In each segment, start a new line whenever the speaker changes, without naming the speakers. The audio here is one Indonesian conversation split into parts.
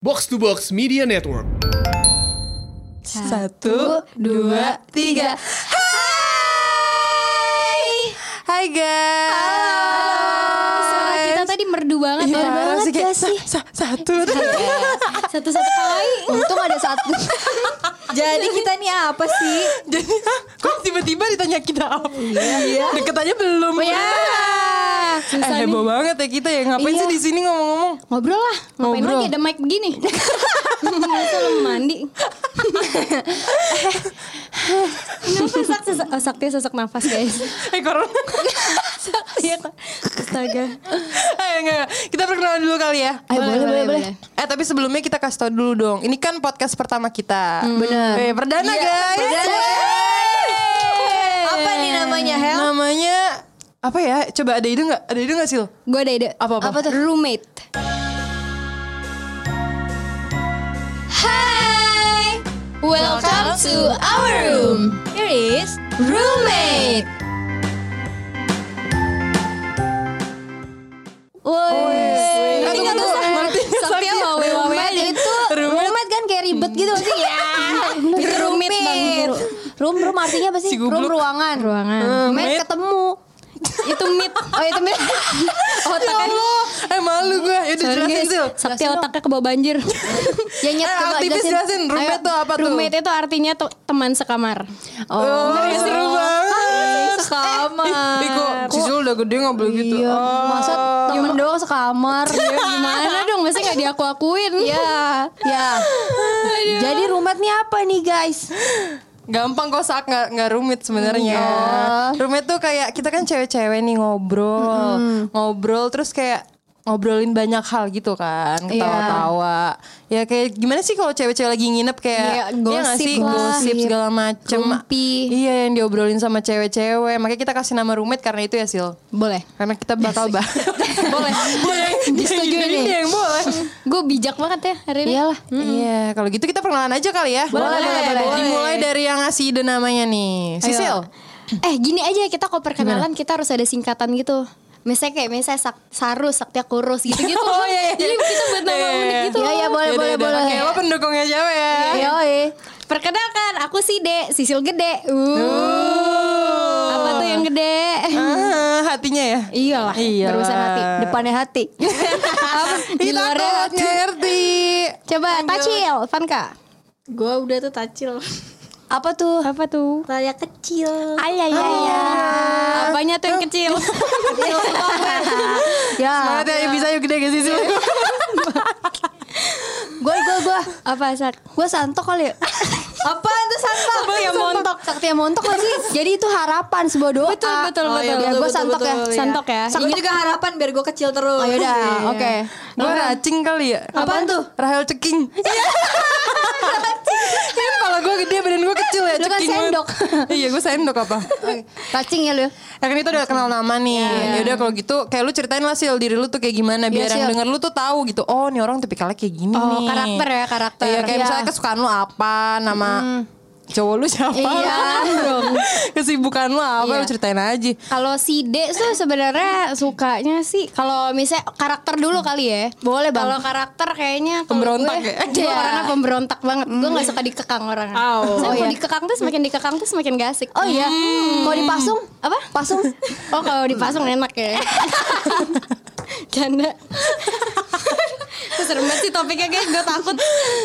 Box to Box Media Network.
Satu, dua, tiga. Hai.
Hai guys.
Halo.
Ah, Suara kita tadi merdu banget ya.
Iya, sih
banget
kayak
gak sih? Iya.
sa- sa- satu.
Satu-satu kali.
Untung ada satu. Jadi kita nih apa sih?
Jadi kok tiba-tiba ditanya kita apa? Iya. Deket aja belum.
Ya.
Eh,
Susah nih.
heboh banget ya kita ya. Ngapain
Iya.
sih di sini ngomong-ngomong?
Ngobrol lah. Ngapain
Ngobrol.
lagi ada mic begini. Masa lu mandi. Kenapa sak sesak? Oh, sakti sesak nafas guys.
Eh, corona.
Iya Kak. Astaga.
Eh, enggak, enggak. Kita perkenalan dulu kali ya.
Ayo, boleh, boleh, boleh.
Eh, tapi sebelumnya kita kasih tau dulu dong. Ini kan podcast pertama kita.
Bener.
Eh, perdana guys.
Hmm. Iya, perdana.
Yeay.
Apa nih namanya, Hel?
Namanya apa ya? Coba ada ide nggak? Ada ide nggak Sil?
Gue ada ide.
Apa-apa?
Apa tuh? Roommate. Hai. Welcome to our room. Here is roommate. Woi.
Tunggu,
Ini nggak
tunggu.
tahu.
Nantinya
Saktia
Saktia.
wawe wawe
Rumit
aja.
itu
Rumit.
rumit. kan kayak ribet gitu sih ya.
Itu rumit, Iya. Bang.
Room room artinya apa
Si
sih?
gubluk.
room ruangan.
Ruangan.
Met
Met.
Hmm. ketemu.
Itu meet.
Oh itu met.
Ya
Otaknya.
Allah, eh malu gue. Yaudah
Sorry
jelasin
guys,
Sil.
Saktia otaknya ke bawah banjir.
ya nyet
Eh,
coba
aktivis jelasin. Roommate
Ayo,
tuh apa tuh?
Roommate itu artinya tuh teman sekamar. ah,
Oh, seru
Ah,
banget.
Sekamar.
Ih, kok Cizul udah gede nggak boleh gitu.
Ah, Iya,
Oh.
masa temen doang sekamar.
Ya gimana dong, masa gak diaku-akuin.
Iya,
Ya, ya. Jadi roommate nih apa nih guys?
Gampang kok sak nggak nggak rumit sebenarnya.
Iya.
Rumit tuh kayak kita kan cewek-cewek nih ngobrol, ngobrol terus kayak ngobrolin banyak hal gitu kan,
Iya.
ketawa-tawa. Ya kayak gimana sih kalau cewek-cewek lagi nginep
Iya,
kayak iya nggak
gosip
sih
lah.
gosip segala macem.
Rumpi.
Iya yang diobrolin sama cewek-cewek. Makanya kita kasih nama rumit karena itu ya Sil.
Boleh.
Karena kita
Iya
bakal bah boleh boleh
Disetujui
Jadi
nih.
dia yang boleh
Gue bijak banget ya hari ini.
Iyalah.
iya kalau gitu kita perkenalan aja kali ya
Boleh, boleh, boleh.
dimulai dari yang ngasih ide namanya nih Sisil
Eh gini aja kita kalau perkenalan kita harus ada singkatan gitu. Misalnya kayak misalnya sak, sarus, saktia kurus gitu-gitu.
Oh, iya, iya.
Jadi kita buat nama
Iya, iya.
unik gitu.
Iya, iya, boleh,
Yaudah,
boleh,
yaudah.
boleh. Iya,
oke lo pendukungnya cewek ya
Yoi.
Perkenalkan aku si De, Sisil gede. Uh. Apa tuh yang gede?
Uh. Ah, hatinya ya
Iyalah, Iya.
Iyalah.
berbesar hati.
Depannya Iya. hati.
Apa? Di
Ih,
luarnya
takut,
hati.
ngerti
Coba tacil, Vanka.
Gua udah tuh tacil
Apa tuh?
Apa tuh?
Kayak kecil
Ayah, ya, ya.
Apanya tuh yang kecil?
Ya,
Semangat ya, bisa yuk gede gak Sisil
gue, gue, gue,
Apa sak?
gue santok kali ya. Apaan tuh santok?
Oh, iya.
Sakti yang montok. Sakti yang montok gak sih? Jadi itu harapan sebuah doa.
Betul, betul,
oh,
iya,
betul.
Ya,
Betul,
gue
betul,
santok ya.
betul, Santok ya.
Santok.
Ini iya. juga harapan biar gue kecil terus
Oh yaudah, oke.
Gue Iya. racing kali ya
Apaan tuh? Iya.
Rahel ceking Kan kalau gue gede badan gue kecil ya
Lu kan
ceking banget.
sendok.
Iya gue sendok apa
Racing ya lu.
Ya kan itu udah kenal nama nih. Ya udah kalau gitu kayak lu ceritain lah Sil diri lu tuh kayak gimana biar
Iya,
yang
Sil.
denger lu tuh tahu gitu. Oh, nih orang tipikalnya kayak gini
Oh,
nih.
karakter ya, karakter.
Iya, kayak
Iya.
misalnya kesukaan lu apa, nama cowok lu siapa?
Iya,
Kesibukan lu apa
Iya.
lu ceritain aja.
Kalau si D tuh sebenarnya sukanya sih kalau misalnya karakter dulu kali ya.
Boleh, Bang.
Kalau karakter kayaknya kalau
Pemberontak
gue,
ya?
Gue
Iya. Hmm.
orangnya pemberontak banget. Gue nggak suka dikekang orangnya.
Oh.
Saya
Oh,
kalau
iya.
dikekang tuh semakin dikekang tuh semakin gak asik. Hmm.
Oh iya. Kalau dipasung?
Apa?
Pasung?
Oh kalau dipasung enak ya. Canda. Terus serem banget sih topiknya guys, gue takut.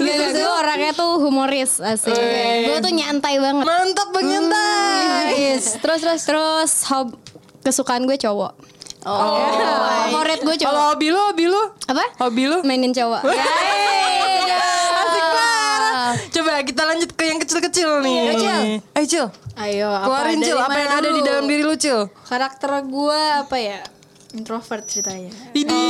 Gitu, gue orangnya tuh humoris
Oh,
asik.
iya,
Wih.
Gue tuh nyantai banget.
Mantap
Mm,
Bang Yentai.
Yes. Terus terus terus hob kesukaan gue cowok. Iya.
Oh.
Favorit gue cowok.
Kalau hobi lu, hobi lu.
Apa?
Hobi lu.
Mainin cowok.
Asik banget. Coba kita lanjut ke yang kecil-kecil nih.
Cil.
Eh, Cil.
Ayo apa
Keluarin
dari
Cil apa
mana
yang ada di
dulu?
dalam diri lu, Cil.
Karakter gue apa ya Introvert ceritanya
Ini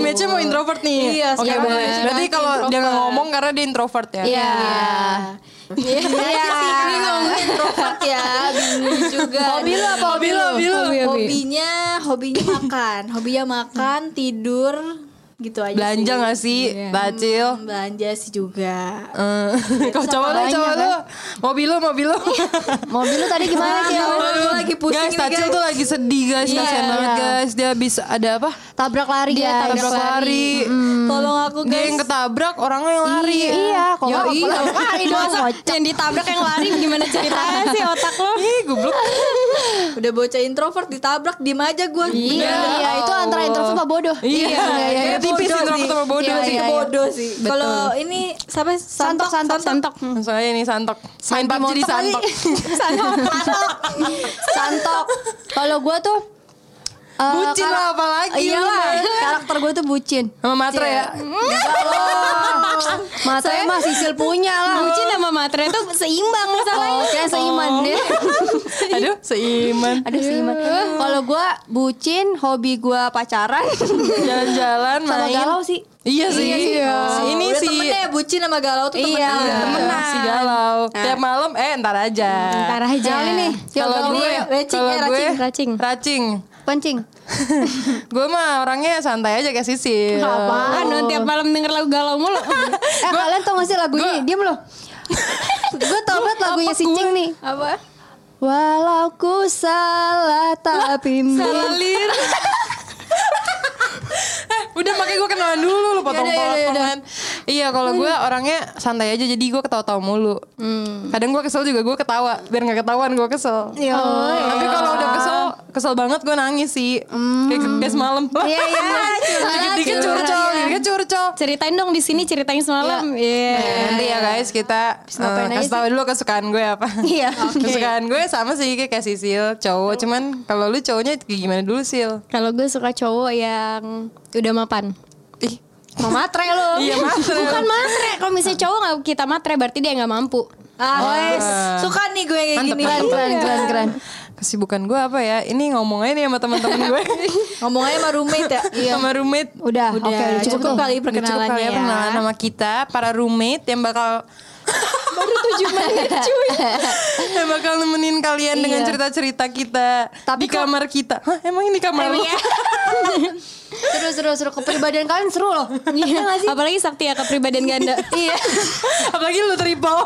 image-nya mau introvert nih.
Iya,
Oke,
sekarang
boleh.
image-nya
Berarti
masih
kalau dia nggak
introvert.
ngomong karena dia introvert ya.
Iya.
Ah.
Iya Bingung introvert ya Bingung juga
Hobi lu
Oh,
apa? Hobi lu?
Iya.
Hobi lu.
Hobinya Hobinya makan Hobinya makan Tidur gitu aja
Belanja
sih.
gak sih, Bacil?
Hmm, belanja sih juga
Eh, Kau coba lu,
banyak,
coba lu.
kan?
Mobil lu, mobil lu.
Mobil lu tadi gimana
Aduh,
Cil?
aduh. guys, Tacil tuh lagi sedih guys,
Iya.
kasihan banget guys. Dia habis ada apa?
Tabrak lari
Iya,
Dia
guys.
tabrak lari.
Hmm.
tolong aku
Dia yang
guys
ketabrak, orangnya yang lari.
Iya, iya. Kalau
Ya
nggak aku
iya,
lari
lari
dong,
Masa
kocak.
yang ditabrak yang lari gimana ceritanya sih otak lo?
Ih, goblok.
udah bocah introvert ditabrak diem aja gue
Iya, iya, itu antara introvert sama bodoh.
Iya,
iya,
iya,
iya.
tipis
Bodoh
gitu,
introvert
sih.
sama bodoh
Iya,
sih.
iya, iya.
bodoh sih kalau ini sampai
Santok, santok, santok.
Hmm, Soalnya ini santok. Main
Santi
PUBG di
montok
santok.
Eh,
Santok. Kalau gue tuh eh,
Bucin
kar-
lah, apalagi
Iya
lu,
lah,
Nay.
karakter gue tuh bucin. Iya.
Sama matre ya.
Mata
Saya-
mah sisil punya lah.
Bucin sama materai tuh seimbang masalahnya.
Oh, kayak seiman deh.
Aduh, seiman.
Aduh seiman. Kalau gue bucin, hobi gue pacaran.
Jalan-jalan
Sama
main.
galau sih.
Iya sih.
iya.
Oh.
Si Ini
udah
sih.
temennya ya bucin sama galau tuh temen
Iya.
iya.
Temenan. Si galau. Tiap malam eh ntar aja.
Ntar aja.
Yang ini, yang
Kalau
galau
gue,
ini,
racing
kalau
ya,
gue,
racing, racing.
racing.
Pancing.
gue mah orangnya santai aja kayak Oh. sisil.
Ah, non tiap malam denger lagu galau mulu.
Eh kalian tau gak sih lagu ini? Diam loh. gue tau banget lagunya si Cing nih.
apa
Walau ku salah tapi
Salah lir. Eh, Udah makanya gue kenalan dulu
Ya
lu potong-potongan Iya kalau gue
Hmm.
orangnya santai aja jadi gue ketawa-tawa mulu Kadang gue kesel juga gue ketawa biar gak ketahuan gue kesel
Ya.
Oh, iya.
Tapi kalau udah kesel, kesel banget gue nangis sih Kayak kayak semalam
Hmm. Iya, iya.
Dikit-dikit
Curhat. Iya.
curcol, dikit curcol
Ceritain dong di sini ceritanya semalam. Iya.
Nanti ya guys kita
ngapain
eh,
aja
kasih tahu dulu kesukaan gue apa.
Iya. Oh. Oke.
Kesukaan gue sama sih kayak kayak Sisil cowok. Cuman kalau lu cowoknya kayak gimana dulu Sil?
Kalau gue suka cowok yang udah mapan.
Ih,
Mau matre lo.
iya matre.
Bukan matre, kalau misalnya cowok nggak kita matre berarti dia nggak mampu.
ah guys, suka nih gue kayak
Mantep,
gini Iya.
mantep,
Keren, keren, keren.
Kesibukan gue apa ya? Ini ngomong aja nih sama teman-teman gue.
ngomong aja sama roommate ya
Sama roommate.
Udah,
Udah,
oke udah cukup,
cukup
tuh.
kali
Udah cukup
perkenalannya
kali ya
ya.
perkenalan sama kita para roommate yang bakal baru 7 menit cuy yang bakal nemenin kalian dengan
Iya.
cerita-cerita kita
Tapi
di
kok-
kamar kita Hah, emang ini kamar
iya.
Iya.
lu?
Terus, terus, terus. Kepribadian kalian seru loh. Iya gak sih?
Apalagi sakti ya kepribadian ganda.
Iya.
apalagi lu triple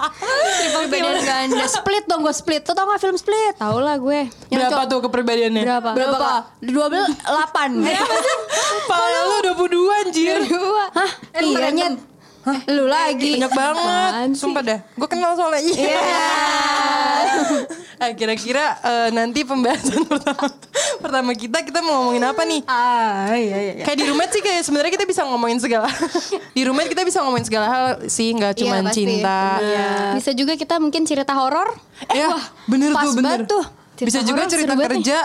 Kepribadian ganda. Split dong gue split. Tuh tau gak film split?
Tahu lah gue.
Berapa tuh kepribadiannya?
Berapa?
Berapa? Eh, Dua belas delapan.
Pala lu 22 anjir
Dua. Hah?
Iya nyet. Lu lagi.
Banyak banget
Apaan sih?
Sumpah dah Gue kenal soalnya Iya Nah, Kira-kira eh, nanti pembahasan pertama, pertama kita Kita mau ngomongin apa nih?
ah iya iya
Kayak di rumah sih kayak sebenarnya kita bisa ngomongin segala Di rumah kita bisa ngomongin segala hal sih nggak
Iya,
cuma
pasti.
cinta Iya.
Bisa juga kita mungkin cerita horor.
Ya bener
pas
tuh bener
banget tuh.
Cerita
Bisa juga
horor
cerita
seru banget Kan,
kerja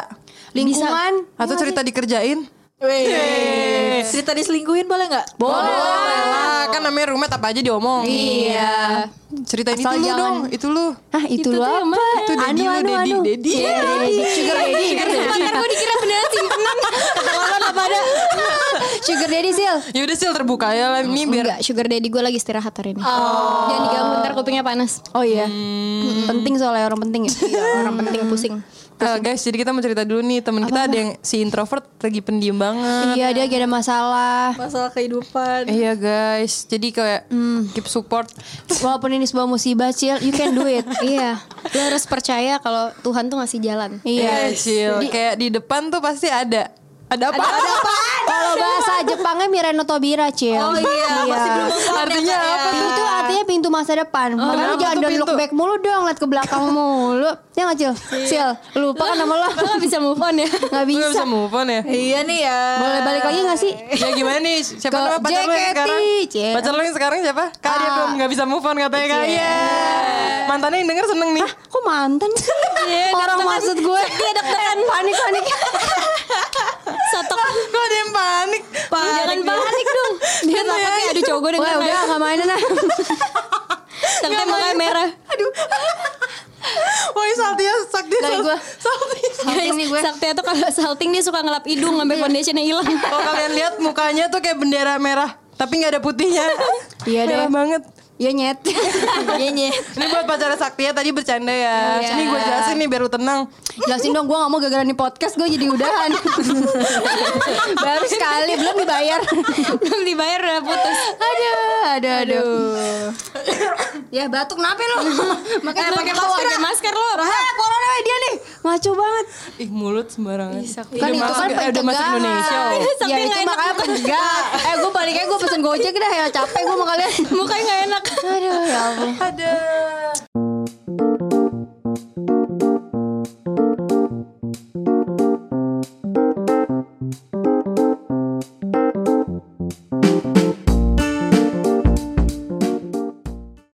Lingkungan.
Atau cerita dikerjain
Weh, cerita diselingkuhin boleh nggak?
Boleh lah Kan namanya rumah apa aja diomong
Iya.
Ceritain
Asal
itu lu
jangan-
dong Itu lu
Hah itu, lu apa? Anu,
Itu Dedi
Anu,
lu, Dedi, Dedi.
Iya, Dedi. Sugar Daddy.
Ntar gue dikira beneran simpenan. Ketahuan apa ada?
Sugar Daddy Sil.
Ya udah sih terbuka ya lah ini biar
Enggak, sugar daddy gue lagi istirahat hari ini. Jangan diganggu ntar kupingnya panas.
Oh iya. Penting soalnya orang penting ya.
Orang penting pusing.
Hmm.
Eh, guys jadi kita mau cerita dulu nih teman kita ada yang si introvert lagi pendiam banget.
Iya dia lagi ada masalah.
Masalah kehidupan.
Eh,
Iya guys, jadi kayak keep support.
Walaupun ini sebuah musibah Sil, you can do it.
Iya, lo harus percaya kalau Tuhan tuh ngasih jalan.
Iya.
Iya, chill. Kayak di depan tuh pasti ada. Ada apa? Ada, apa?
Kalau bahasa Jepangnya Mireno Tobira Sil.
Oh iya, masih belum
Artinya apa tuh?
Pintu artinya pintu masa depan. Makanya
kenapa
jangan
tuh
don't look
pintu?
back mulu dong, lihat ke belakang mulu. Ya nggak Cil? Sil, lupa kan nama lo?
Lo gak bisa move on ya.
Nggak
Gue
bisa.
gak bisa move on ya.
Iya nih ya.
Boleh balik lagi nggak sih?
ya gimana nih? Siapa
Ke
nama pacar lo yang
JKT,
sekarang?
Cil.
Pacar lo yang sekarang siapa? Kak dia belum gak bisa move on katanya kak. Ah. Iya. Mantannya yang denger seneng nih.
Kok mantan? Orang maksud gue. Dia deg-degan. Panik, panik.
Sotok.
Kok ada yang panik?
Jangan panik dong. Dia takutnya aduh cowok gue
Wah,
dengan
udah nggak mainan lah.
Takutnya makanya merah.
Woi Saltia, Sakti,
Dari gue.
Saltia.
Salting nih gue.
Saktia tuh kalau salting dia suka ngelap hidung sampai foundationnya hilang.
Kalau kalian lihat mukanya tuh kayak bendera merah, tapi nggak ada putihnya.
Iya deh.
merah banget.
Iya nyet. Iya nyet.
Ini buat pacarnya Saktia tadi bercanda ya.
Iya.
Ini gue jelasin nih biar lu tenang.
Jelasin dong gue gak mau gara-gara nih podcast gue jadi udahan. Baru sekali belum dibayar.
Belum dibayar udah putus.
aduh, aduh, aduh. ya batuk kenapa lu?
Eh, pakai masker, pakai masker lo.
Ah, corona weh, dia nih. Ngaco banget.
Ih mulut sembarangan.
Kan
Udah
itu
masuk-
kan
eh, udah masuk
pencegahan.
Indonesia. oh.
Ya
Sampai
itu
nggak enak
makanya pencegahan. Eh gue baliknya gue pesen gojek dah ya capek gue sama kalian.
Mukanya nggak enak.
Aduh ya ampun.
Ada.